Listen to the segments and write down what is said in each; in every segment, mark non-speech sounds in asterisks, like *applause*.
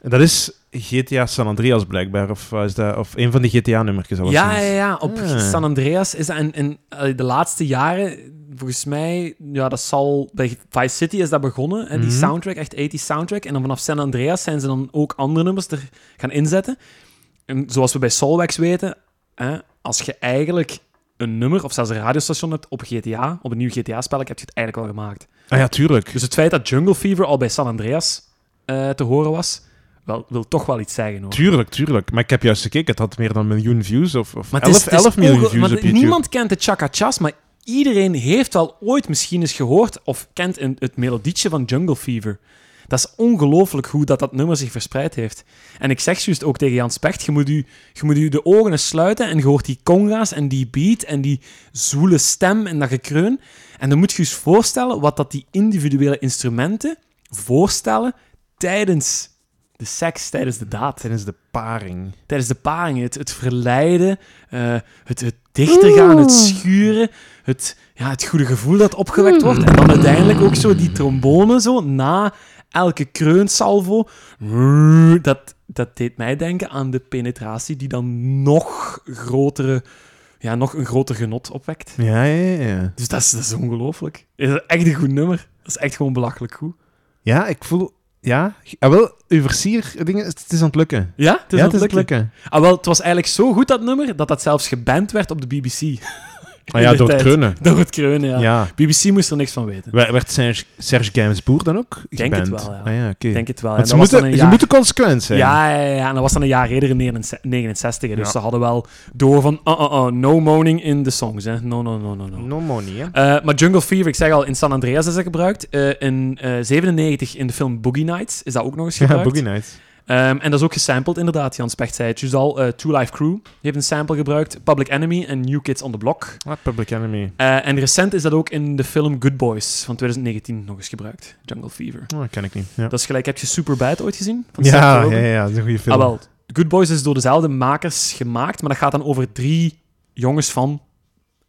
En dat is GTA San Andreas blijkbaar, of, eh, is dat, of een van die GTA-nummertjes. Ja, ja, ja, op Ah. San Andreas is dat. En, en eh, de laatste jaren, volgens mij, ja, dat zal. Bij Vice City is dat begonnen, hè, die Mhm. soundtrack, echt 80 soundtrack. En dan vanaf San Andreas zijn ze dan ook andere nummers er gaan inzetten. En zoals we bij Solwax weten, hè, als je eigenlijk een nummer of zelfs een radiostation hebt op GTA, op een nieuw GTA-spel, heb je het eigenlijk wel gemaakt. Ah, ja, tuurlijk. Dus het feit dat Jungle Fever al bij San Andreas eh, te horen was, wel, wil toch wel iets zeggen hoor. Tuurlijk, tuurlijk. Maar ik heb juist gekeken, het had meer dan een miljoen views. Of, of Maar 11, het is- het is 11 miljoen onge- views op want YouTube. Niemand kent de Chaka Chas, maar iedereen heeft wel ooit misschien eens gehoord of kent een, het melodietje van Jungle Fever. Dat is ongelooflijk hoe dat, dat nummer zich verspreid heeft. En ik zeg juist ook tegen Jan Specht, je moet u, je moet u de ogen eens sluiten en je hoort die conga's en die beat en die zoele stem en dat gekreun. En dan moet je je eens voorstellen wat dat die individuele instrumenten voorstellen tijdens de seks, tijdens de daad Tijdens de paring. tijdens de paring. Het, het verleiden, eh, het, het dichter gaan, het schuren, het, ja, het goede gevoel dat opgewekt wordt. En dan uiteindelijk ook zo die trombone zo na elke kreunsalvo. Dat, dat deed mij denken aan de penetratie die dan nog grotere... Ja, nog een groter genot opwekt. Ja, ja, ja. Dus dat is, dat is ongelooflijk. Dat is echt een goed nummer. Dat is echt gewoon belachelijk goed. Ja, ik voel... Ja, ah, wel, uw versier, dingen, het is aan het lukken. Ja, het is ja, aan het is aan het lukken. lukken. *laughs* Ah, wel, het was eigenlijk zo goed, dat nummer, dat dat zelfs geband werd op de BBC. Ah ja, In de door het tijd. kreunen. *laughs* Door het kreunen, ja. Ja. BBC moest er niks van weten. Wer- Werd Serge, Serge Gainsbourg dan ook Denk het geband? wel, ja. Ah, ja, oké. Ik denk het wel. Want ja. ze Dat was dan moeten, een ze jaar- moeten consequent zijn. ja, ja, ja, ja, en dat was dan een jaar eerder in 69. hè. Dus Ja. ze hadden wel door van, oh, oh, oh, no moaning in de songs. Hè. No, no, no, no, no. No money, hè. Eh, maar Jungle Fever, ik zeg al, in San Andreas is dat gebruikt. Eh, in eh 97 in de film Boogie Nights is dat ook nog eens *laughs* gebruikt. Ja, Boogie Nights. Ehm, en dat is ook gesampled, inderdaad. Jan Specht zei het juist al. eh, Two Life Crew heeft een sample gebruikt. Public Enemy en New Kids on the Block. What Public Enemy. Eh, en recent is dat ook in de film Good Boys van 2019 nog eens gebruikt. Jungle Fever. Oh, dat ken ik niet. Ja, Dat is gelijk. Heb je Superbad ooit gezien? Van Seth ja, ja, Rogen? ja, dat is een goede film. Ah, wel. Good Boys is door dezelfde makers gemaakt, maar dat gaat dan over drie jongens van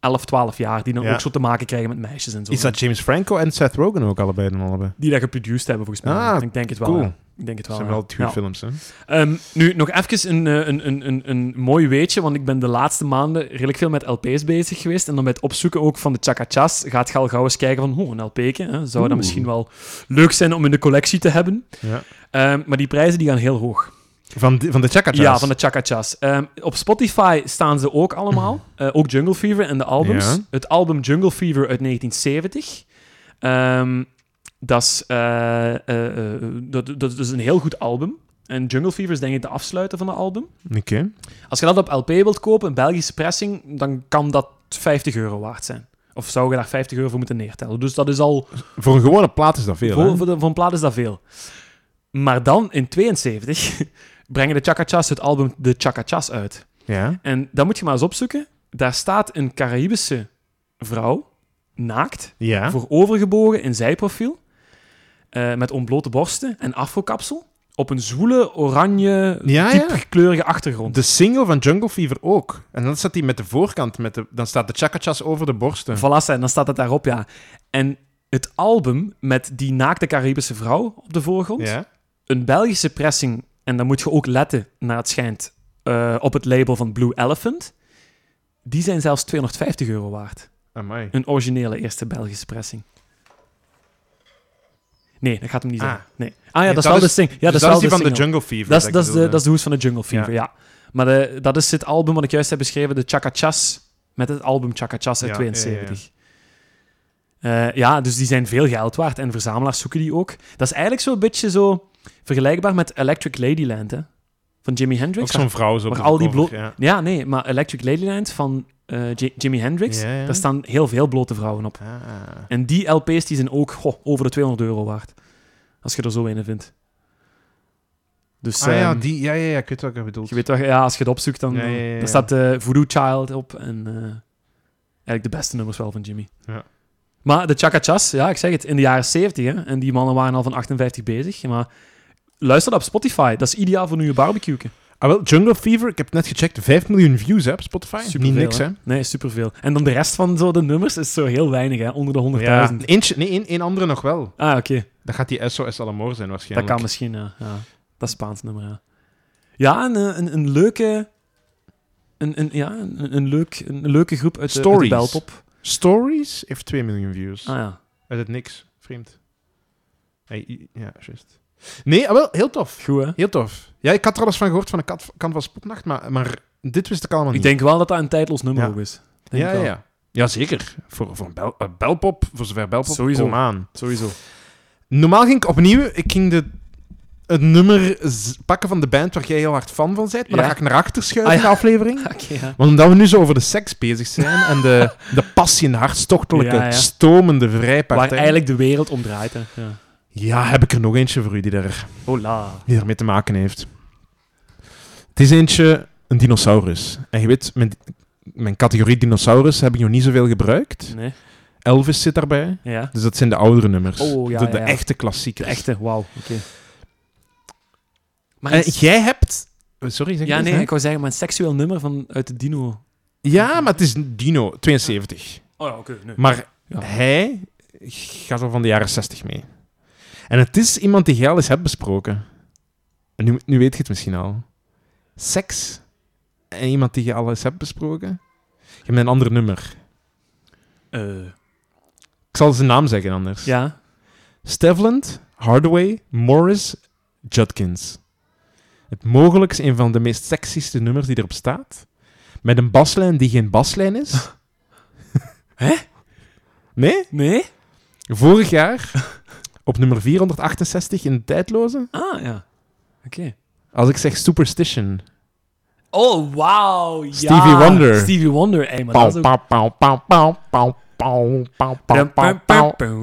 11, 12 jaar die dan Ja. ook zo te maken krijgen met meisjes en zo. Is dat James Franco en Seth Rogen ook allebei dan allebei? Die dat geproduced hebben, volgens mij. Ah, ik denk het wel. Cool. ja. Ik denk het wel. Dat zijn ja. wel goede Ja. films, hè. Ehm, nu, nog even een, eh, een, een, een, een mooi weetje, want ik ben de laatste maanden redelijk veel met LP's bezig geweest. En dan met opzoeken ook van de Chakachas gaat je al gauw eens kijken van, oh, een LP'tje, hè, zou dat Oeh. misschien wel leuk zijn om in de collectie te hebben. Ja. Ehm, maar die prijzen die gaan heel hoog. Van, de- van de Chaka Ja, van de Chakachas. Ehm op Spotify staan ze ook allemaal. Eh, ook Jungle Fever en de albums. Mhm. Ja. Het album Jungle Fever uit 1970. Ehm, dat, is, eh, eh, eh, dat, dat is een heel goed album. En Jungle Fever is denk ik de afsluiter van het album. Oké. Als je dat op LP wilt kopen, een Belgische pressing, dan kan dat 50 euro waard zijn. Of zou je daar 50 euro voor moeten neertellen. Dus dat is al... Voor een gewone plaat is dat veel, hè? Voor, voor, de- voor een plaat is dat veel. Maar dan, in 72, *laughs* brengen de Chakachas het album De Chakachas uit. Ja. En dat moet je maar eens opzoeken. Daar staat een Caribische vrouw, naakt, Ja. voorovergebogen in zijprofiel, eh, met ontblote borsten en afrokapsel, op een zoele, oranje, Ja, ja. diepkleurige achtergrond. De single van Jungle Fever ook. En dan staat die met de voorkant. Met de, dan staat de Chakachas over de borsten. Voilà, en dan staat het daarop, ja. En het album met die naakte Caribische vrouw op de voorgrond, Ja. een Belgische pressing, en dan moet je ook letten, naar het schijnt, eh, op het label van Blue Elephant, die zijn zelfs 250 euro waard. Amai. Dus Een originele eerste Belgische pressing. Nee, dat gaat hem niet Ah. zijn. Nee. Ah ja, Nee, dat is dat wel de is- sing. Ja, Dus dat dat is wel die de van de single. Jungle Fever. Dat is, ik dat is de, bedoelde. dat is de hoes van de Jungle Fever, Ja. ja. Maar de, dat is het album wat ik juist heb beschreven, de Chakachas, met het album Chakachas uit Ja, 72. Ja, ja, dus die zijn veel geld waard en verzamelaars zoeken die ook. Dat is eigenlijk zo'n beetje zo vergelijkbaar met Electric Ladyland, hè? Van Jimi Ook Hendrix. zo'n vrouw zo. op Maar de al die cover, blo- ja. Ja, nee, maar Electric Ladyland van eh, J- Jimi Hendrix, Ja, ja. daar staan heel veel blote vrouwen op. Ah. En die LP's die zijn ook goh, over de 200 euro waard. Als je er zo een vindt. Dus Ah ja, ehm, die, ja, ja, ja, ik weet wat je bedoelt. je weet toch, ja, als je het opzoekt, dan Ja, ja, eh, ja, ja. daar staat eh Voodoo Child op. En eh, eigenlijk de beste nummers wel van Jimmy. Ja. Maar de Chakachas, ja, ik zeg het, in de jaren 70. Hè, en die mannen waren al van 58 bezig. Maar luister dat op Spotify. Dat is ideaal voor nu je barbecue. Ah, wel, Jungle Fever, ik heb het net gecheckt, 5 miljoen views hè, op Spotify. Niet niks, hè? Nee, superveel. En dan de rest van zo de nummers is zo heel weinig, hè, onder de 100.000. Ja, eentje, nee, één, één andere nog wel. Ah, oké. Dat gaat die SOS Alamor zijn Dat waarschijnlijk. kan misschien, eh, ja. ja. Dat Spaans nummer, ja. Ja, een, eh, een, een leuke... Een, een, ja, een, een leuk, een leuke groep uit de, uit de Stories. beltop. Stories heeft 2 miljoen views. Ah ja, Uit het niks. Vreemd. Hey, i- ja, juist. Nee, ah, wel, heel tof. goed hè? Heel tof. Ja, ik had er alles van gehoord van de kat, kant van Spotnacht, maar, maar dit wist ik allemaal Ik niet. denk wel dat dat een tijdloos nummer Ja. ook is. Denk ja, ik ja, wel. ja. Jazeker. Voor, voor een bel, eh, belpop, voor zover belpop, Sowieso. kom aan. Sowieso. Normaal ging ik opnieuw, ik ging de, het nummer z- pakken van de band waar jij heel hard fan van bent, maar Ja. dan ga ik naar achter schuiven Ah, ja. in de *laughs* aflevering. *laughs* Oké, ja. Want omdat we nu zo over de seks bezig zijn en de, de passie en de hartstochtelijke, Ja, ja. stomende vrijpartij. Waar eigenlijk de wereld om draait hè. Ja. Ja, heb ik er nog eentje voor u die, daar, Hola. die daarmee te maken heeft. Het is eentje, een dinosaurus. En je weet, mijn, mijn categorie dinosaurus heb ik nog niet zoveel gebruikt. Nee. Elvis zit daarbij. Ja. Dus dat zijn de oudere nummers. Oh, ja, de, de ja, ja. echte De klassiekers. echte, wauw. Oké. Eh, Maar En een- Eh, jij hebt... Oh, Sorry, zeg ik ja, dit, nee, hè? ik wou zeggen, maar een seksueel nummer van, uit de Dino. Ja, maar het is een Dino, 72. Oh ja, oké. nee. Maar Ja. hij gaat al van de jaren 60 mee. En het is iemand die jij al eens hebt besproken. En nu, nu weet je het misschien al. Seks en iemand die je al eens hebt besproken. Je hebt een ander nummer. Eh, Ik zal zijn naam zeggen anders. ja. Stevland, Hardaway, Morris, Judkins. Het mogelijk is een van de meest sexieste nummers die erop staat. Met een baslijn die geen baslijn is. Hè? Nee? Nee? Vorig jaar, *laughs* op nummer 468 in de tijdloze, Ah, ja. Oké. als ik zeg Superstition. Oh, wauw. Ja. Stevie Wonder. Stevie Wonder. Ey, maar dat is Pauw, ook... pauw, pauw, pauw, pauw, pauw, pauw, pauw, pauw, pauw, pauw.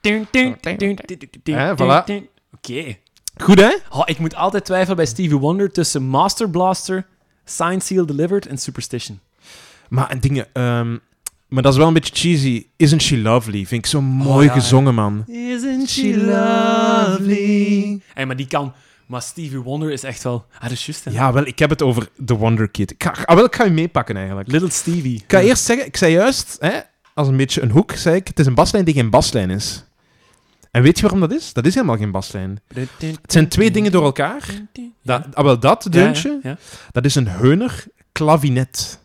Eh, voilà. Oké. Goed, hè? Oh, ik moet altijd twijfelen bij Stevie Wonder tussen Master Blaster, Signed, Seal Delivered en Superstition. Maar en dingen, ehm, maar dat is wel een beetje cheesy. Isn't She Lovely? Vind ik zo mooi ja, hè? gezongen, man. Isn't she lovely? Hey, maar die kan... Maar Stevie Wonder is echt wel... Ah, dat is juist, hè. Ja, wel, ik heb het over The Wonder Kid. Ik ga, ah, wel, ik ga u meepakken eigenlijk. Little Stevie. Ik ga eerst zeggen, ik zei juist, hè, als een beetje een hoek, zei ik, het is een baslijn die geen baslijn is. En weet je waarom dat is? Dat is helemaal geen baslijn. Het zijn twee dingen door elkaar. Dat, ah, wel, dat deuntje, Ja, ja. dat is een heuner klavinet.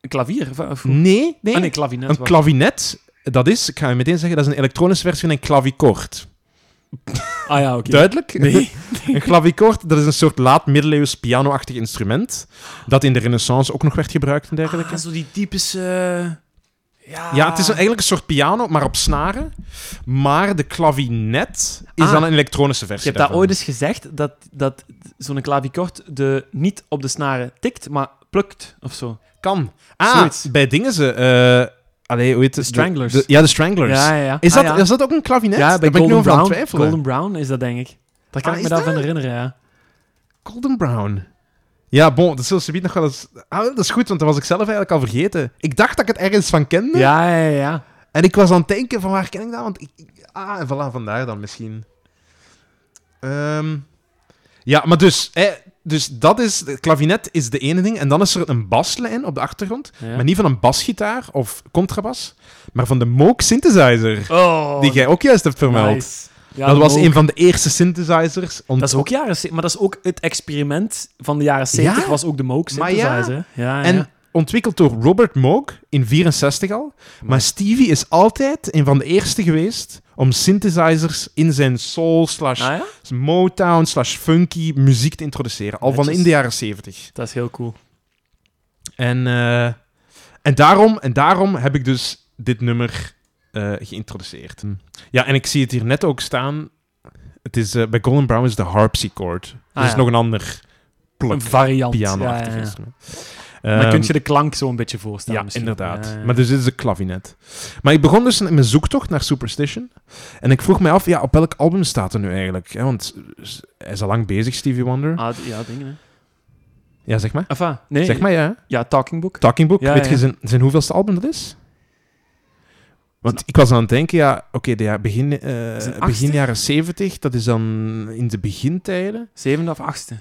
Een klavier? Of, of, hoe? Nee, nee. Ah, nee, klavinet. een wacht. klavinet, dat is, ik ga je meteen zeggen, dat is een elektronische versie van een klavichord. ah ja, oké. Duidelijk? *laughs* Nee. Een klavichord, dat is een soort laat-middeleeuws piano-achtig instrument, dat in de renaissance ook nog werd gebruikt en dergelijke. Ah, zo die typische... eh, ja. Ja, het is een- eigenlijk een soort piano, maar op snaren. Maar de klavinet is Ah. dan een elektronische Je versie hebt dat daarvan. ooit eens gezegd, dat, dat zo'n klaviekort de, niet op de snaren tikt, maar plukt, of zo. Kan. Ah, Zoiets. bij dingen ze... eh allee, hoe heet het? De Stranglers. De- de- ja, de Stranglers. Ja, ja, ja. Is, Ah, dat, ja. is dat ook een klavinet? ja, Daar bij ben ik nu over Golden aan het Brown, twijfelen. Golden Brown is dat, denk ik. Daar kan Ah, ik me is daarvan herinneren, ja. Golden Brown. Ja, bon, dat zullen ze nog wel eens... Ah, dat is goed, want dat was ik zelf eigenlijk al vergeten. Ik dacht dat ik het ergens van kende. Ja, ja, ja, ja. En ik was aan het denken van waar ken ik dat? Want ik, ik- ah, en voilà, vandaar dan misschien. Ehm, ja, maar dus, hè, dus dat is, het klavinet is de ene ding. En dan is er een baslijn op de achtergrond. Ja. Maar niet van een basgitaar of contrabas, maar van de Moog synthesizer. Oh, die jij ook juist hebt vermeld. nice. Ja, dat de was Moog. een van de eerste synthesizers. Om- Dat is ook jaren ze- maar dat is ook het experiment van de jaren 70 Ja? was ook de Moog Maar ja. synthesizer. Ja, ja, En ontwikkeld door Robert Moog in 64 al. Maar Stevie is altijd een van de eerste geweest om synthesizers in zijn soul slash Ah, ja? Motown slash funky muziek te introduceren. Al van Netjes. in de jaren 70. Dat is heel cool. En, eh, en, daarom, en daarom heb ik dus dit nummer eh, geïntroduceerd. Hm. Ja, en ik zie het hier net ook staan. Het is, eh, bij Golden Brown is de harpsichord. Dus Ah, is ja. nog een ander Een pluk, variant. piano-achtig ja, ja, ja. instrument. Dan kun Ehm, je de klank zo een beetje voorstellen. ja, misschien. inderdaad. Ja, ja, ja. Maar dus dit is een klavinet. Maar ik begon dus mijn zoektocht naar Superstition. En ik vroeg mij af, ja, op welk album staat er nu eigenlijk? hè? Want eh, hij is al lang bezig, Stevie Wonder. Ah, d- ja, dingen. Hè. Ja, zeg maar. Enfin, nee. Zeg maar, ja. Ja, Talking Book. Talking Book, Ja, weet ja. je zijn, zijn hoeveelste album dat is? Want ik was aan het denken, ja, oké, de ja- begin, eh, Is het een achtste? begin jaren 70, dat is dan in de begintijden. Zevende of achtste.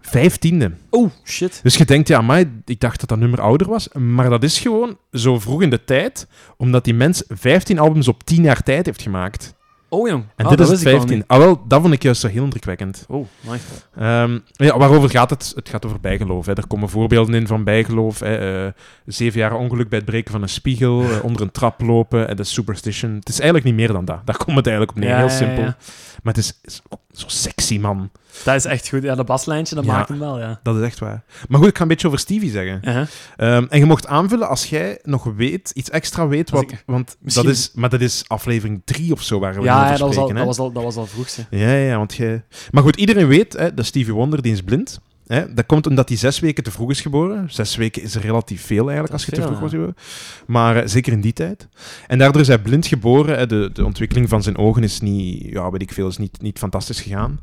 Vijftiende. Oh, shit. Dus je denkt, ja, maar ik dacht dat dat nummer ouder was. Maar dat is gewoon zo vroeg in de tijd, omdat die mens 15 albums op 10 jaar tijd heeft gemaakt. Oh jong. En Ah, dit dat is het wist ik al 15. Ah, wel, dat vond ik juist zo heel indrukwekkend. niet. Oh, my. Ehm, ja, waarover gaat het? Het gaat over bijgeloof. Hè. Er komen voorbeelden in van bijgeloof. Hè. Eh, zeven jaar ongeluk bij het breken van een *laughs* spiegel, eh, onder een trap lopen, en de superstition. Het is eigenlijk niet meer dan dat. Daar komt het eigenlijk op neer, Ja, heel ja, simpel. ja. Maar het is, is ook zo sexy, man. Dat is echt goed. Ja, dat baslijntje, dat Ja. maakt hem wel, ja. Dat is echt waar. Maar goed, ik ga een beetje over Stevie zeggen. Uh-huh. Ehm, en je mocht aanvullen als jij nog weet, iets extra weet, Als wat, ik- want Misschien- dat is, maar dat is aflevering 3 of zo waar we Ja, over ja, dat, was spreken. al, hè. dat, was al, dat was al vroeg, zeg. Ja, ja, want je... Maar goed, iedereen weet hè, dat Stevie Wonder, die is blind. Hè, dat komt omdat hij zes weken te vroeg is geboren. Zes weken is relatief veel eigenlijk, Dat als je is te veel, vroeg wordt ja. geboren. Maar eh, zeker in die tijd. En daardoor is hij blind geboren. Hè, de, de ontwikkeling van zijn ogen is niet, ja, weet ik veel, is niet, niet fantastisch gegaan.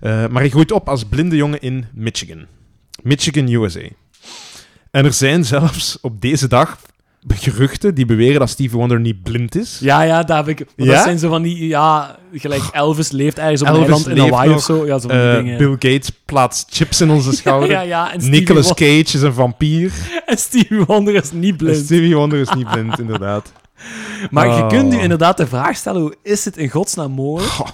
Eh, maar hij groeit op als blinde jongen in Michigan. Michigan, USA. En er zijn zelfs op deze dag geruchten die beweren dat Stevie Wonder niet blind is. Ja, ja, daar heb ik... want Ja? Dat zijn zo van die... Ja, gelijk Elvis leeft ergens op een Elvis eiland in leeft Hawaii nog. of zo. Ja, zo van die Eh, dingen. *laughs* Bill Gates plaatst chips in onze schouder. Ja, ja, en Stevie, Nicolas Wonder, Cage is een *laughs* vampier. en Stevie Wonder is niet En blind. Stevie Wonder is niet blind, *laughs* inderdaad. Maar je Oh. kunt je inderdaad de vraag stellen, hoe is het in godsnaam *laughs* mogelijk?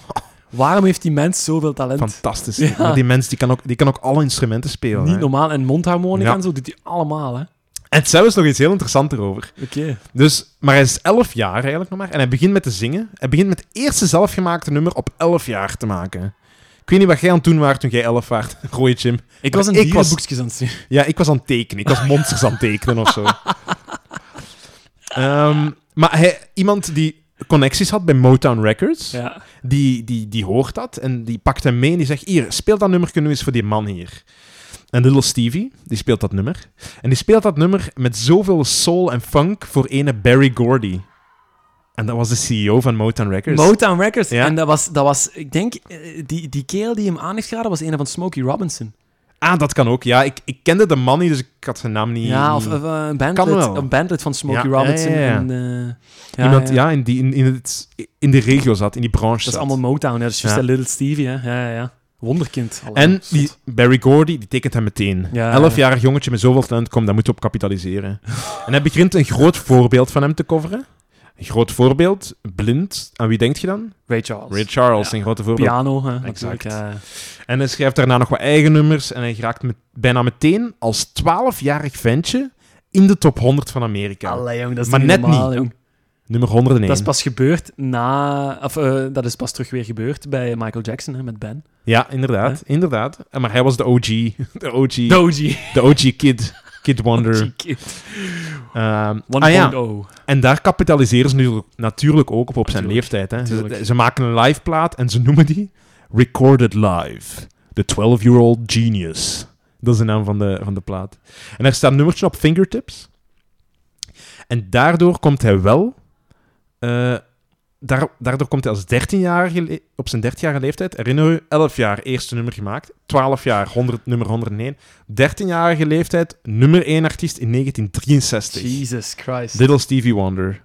Waarom heeft die mens zoveel talent? Fantastisch. Ja. Maar die mens die kan, ook, die kan ook alle instrumenten spelen. Niet hè. normaal. En mondharmonica Ja. en zo doet hij allemaal, hè. En zelfs nog iets heel interessants erover. Oké. Dus, maar hij is 11 jaar eigenlijk nog maar. En hij begint met te zingen. Hij begint met het eerste zelfgemaakte nummer op 11 jaar te maken. Ik weet niet wat jij aan het doen waart toen jij 11 waart. *laughs* Roy Jim. Ik was een ik was- dierenboekjes aan het zien. Ja, ik was aan het tekenen. Ik was *laughs* monsters aan het tekenen of zo. Ehm, maar hij, iemand die connecties had bij Motown Records. Ja. die, die, die hoort dat en die pakt hem mee en die zegt: Hier, speel dat nummer nu eens voor die man hier. En Little Stevie, die speelt dat nummer. En die speelt dat nummer met zoveel soul en funk voor ene Barry Gordy. En dat was de CEO van Motown Records. Motown Records. Ja. En dat was, dat was, ik denk, eh, die, die kerel die hem aan heeft geraden was een van Smokey Robinson. ah, dat kan ook. Ja, ik, ik kende de man niet, dus ik had zijn naam niet. ja, niet- of, of, eh, een, Kan bandlid, wel. een bandlid van Smokey Ja, ja, Robinson. ja, ja. En, eh, ja, Iemand ja. ja, in, die, in, in, het, in de regio zat, in die branche Dat is zat. allemaal Motown, ja. Dat is juist Ja. dat Little Stevie, hè. Ja, ja, ja. Wonderkind. Allee, En zot. die Barry Gordy, die tekent hem meteen. dus Ja, Elfjarig jongetje met zoveel talent, kom, daar moet je op *laughs* kapitaliseren. en hij begint een groot voorbeeld van hem te coveren. Een groot voorbeeld, blind. Aan wie denkt je dan? Ray Charles. Ray Charles, Ja. een grote voorbeeld. Piano, hè. Exact. Natuurlijk, ja. En hij schrijft daarna nog wat eigen nummers. En hij raakt met, bijna meteen als 12-jarig ventje in de top 100 van Amerika. Allee, jong, dat is Maar toch net normaal, jong. Nummer 101. Dat is pas gebeurd na... Of, eh, dat is pas terug weer gebeurd bij Michael Jackson, hè, met Ben. Ja, inderdaad, inderdaad. En Maar hij was de OG. *laughs* De OG, de, Doji. OG kid. Kid *laughs* Wonder. Kid. 1.0. Ehm, ah ja, oh. En daar kapitaliseren ze nu natuurlijk ook op, op zijn Natuurlijk, leeftijd. Hè. Ze, natuurlijk. ze maken een live plaat en ze noemen die Recorded Live. The 12-Year-Old Genius. Dat is de naam van de, van de plaat. En er staat een nummertje op Fingertips. En daardoor komt hij wel... eh, daar, daardoor komt hij als 13-jarige le- op zijn 13-jarige leeftijd... Herinner u, 11 jaar eerste nummer gemaakt. 12 jaar, 100, nummer 101. 13-jarige leeftijd, nummer 1 artiest in 1963. Jesus Christ. Little Stevie Wonder.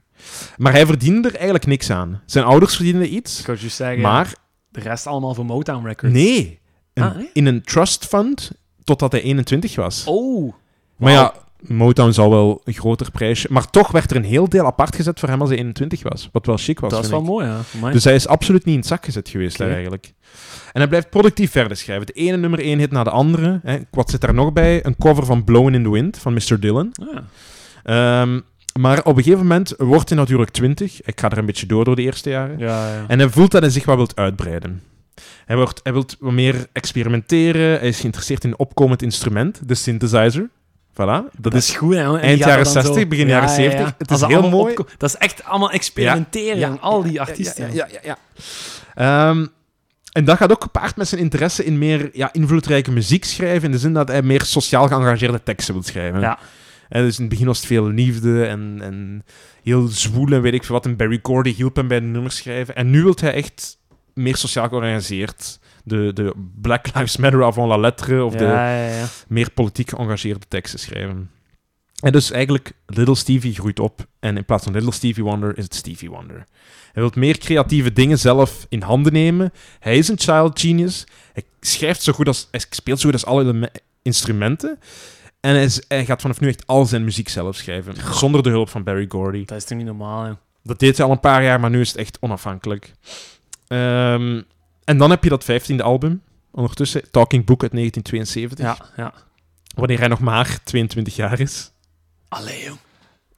Maar hij verdiende er eigenlijk niks aan. Zijn ouders verdienden iets, Ik wou juist zeggen, maar de rest allemaal voor Motown Records. nee. Een- Ah, nee? In een trust fund totdat hij 21 was. Oh. Maar ja, Motown zal wel een groter prijsje. Maar toch werd er een heel deel apart gezet voor hem als hij 21 was. Wat wel chic was. Dat is vind ik. wel mooi, ja. Amai. Dus hij is absoluut niet in het zak gezet geweest Oké. daar eigenlijk. En hij blijft productief verder schrijven. De ene nummer 1 hit na de andere. Hè. Wat zit daar nog bij? Een cover van Blowing in the Wind van Mr. Dylan. Ah, Ja. Ehm, maar op een gegeven moment wordt hij natuurlijk 20. Ik ga er een beetje door door de eerste jaren. Ja, ja. En hij voelt dat hij zich wat wilt uitbreiden. Hij, wordt, hij wilt wat meer experimenteren. Hij is geïnteresseerd in een opkomend instrument, de synthesizer. Voilà. Dat is, goed, hè. hoor. En eind die gaan jaren er dan 60, zo- begin jaren 70. Het is Als dat heel allemaal mooi. opko- Dat is echt allemaal experimenteren, Ja, ja, ja, al die artiesten. Ja, ja, ja. ja. Ehm, en dat gaat ook gepaard met zijn interesse in meer ja, invloedrijke muziek schrijven. In de zin dat hij meer sociaal geëngageerde teksten wil schrijven. Ja. En dus in het begin was het veel liefde en, en heel zwoel en weet ik veel wat. En Barry Gordy hielp hem bij de nummers schrijven. En nu wil hij echt meer sociaal georganiseerd. De, de Black Lives Matter avant la lettre of de ja, ja, ja. meer politiek geëngageerde teksten schrijven. En dus eigenlijk, Little Stevie groeit op. En in plaats van Little Stevie Wonder is het Stevie Wonder. Hij wil meer creatieve dingen zelf in handen nemen. Hij is een child genius. Hij schrijft zo goed als... Hij speelt zo goed als alle eleme- instrumenten. En hij, is- hij gaat vanaf nu echt al zijn muziek zelf schrijven. Zonder de hulp van Barry Gordy. Dat is toch niet normaal, hè. Dat deed hij al een paar jaar, maar nu is het echt onafhankelijk. Ehm, en dan heb je dat vijftiende album. Ondertussen Talking Book uit 1972. Ja, ja. Wanneer hij nog maar 22 jaar is. Allee, jong.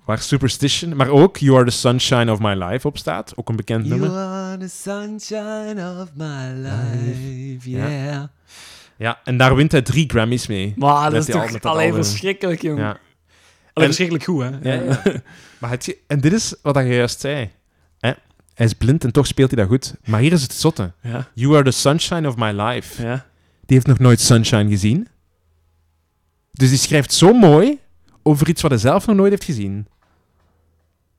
Waar Superstition, maar ook You Are the Sunshine of My Life op staat. Ook een bekend nummer. are the sunshine of my Life. yeah. Ja, en daar wint hij drie Grammys mee. Maar Met dat is die al- met toch dat alleen album. verschrikkelijk, jong. Ja. Alleen En- verschrikkelijk goed, hè? Ja, Maar het, en dit is wat je juist zei. Hè? Hij is blind en toch speelt hij dat goed. Maar hier is het zotte. *laughs* ja. You Are the Sunshine of My Life. ja. Die heeft nog nooit Sunshine gezien. Dus die schrijft zo mooi over iets wat hij zelf nog nooit heeft gezien.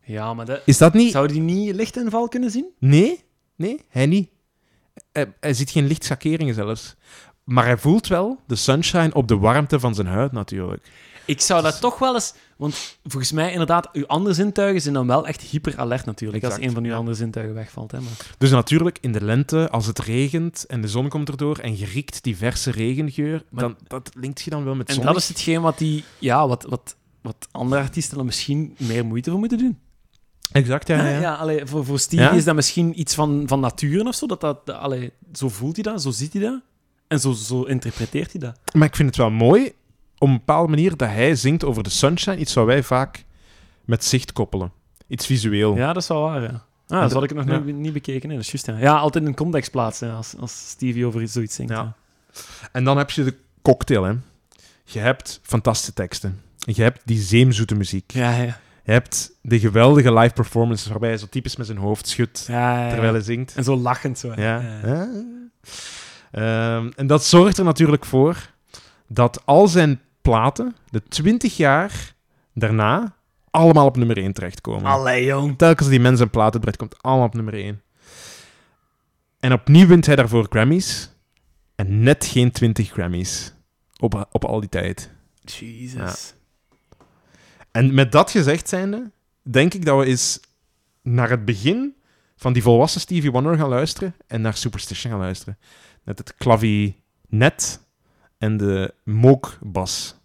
Ja, maar dat... Is dat niet... Zou die niet licht en val kunnen zien? Nee, nee, hij niet. Hij, hij ziet geen lichtschakeringen zelfs. Maar hij voelt wel de sunshine op de warmte van zijn huid natuurlijk. Ik zou dat toch wel eens... Want volgens mij, inderdaad, uw andere zintuigen zijn dan wel echt hyperalert natuurlijk. als Exact, een van uw ja. andere zintuigen wegvalt, hè. Maar... Dus natuurlijk, in de lente, als het regent en de zon komt erdoor en je riekt die verse regengeur, Maar- dan, dat linkt je dan wel met En zon. dat is hetgeen wat, die, ja, wat, wat, wat andere artiesten er misschien meer moeite voor moeten doen. Exact, Ah, ja. ja, ja. allee, voor, voor Stevie Ja? is dat misschien iets van, van natuur of zo. Dat dat, dat- allee, zo voelt hij dat, zo ziet hij dat. En zo, zo interpreteert hij dat. Maar ik vind het wel mooi, op een bepaalde manier, dat hij zingt over de sunshine. Iets wat wij vaak met zicht koppelen. Iets visueel. Ja, dat is wel waar, ja. Ah, En dat de- had ik nog ja. niet, niet bekeken. Nee, dat is juist, ja. ja, altijd in een context plaatsen als, als Stevie over iets, zoiets zingt. Ja. ja. En dan heb je de cocktail, hè. Je hebt fantastische teksten. Je hebt die zeemzoete muziek. Ja, ja. Je hebt de geweldige live performances waarbij hij zo typisch met zijn hoofd schudt ja, ja. terwijl hij zingt. En zo lachend zo. hè. Ja. Ja. Ja. Ehm, en dat zorgt er natuurlijk voor dat al zijn platen de 20 jaar daarna allemaal op nummer 1 terechtkomen. Allee, jong. Telkens die mensen een plaat uitbrengt, komt allemaal op nummer 1. En opnieuw wint hij daarvoor Grammys. En net geen 20 Grammys. Op, op al die tijd. Jesus. En met dat gezegd zijnde, denk ik dat we eens naar het begin van die volwassen Stevie Wonder gaan luisteren en naar Superstition gaan luisteren. Met het klavinet en de mookbas.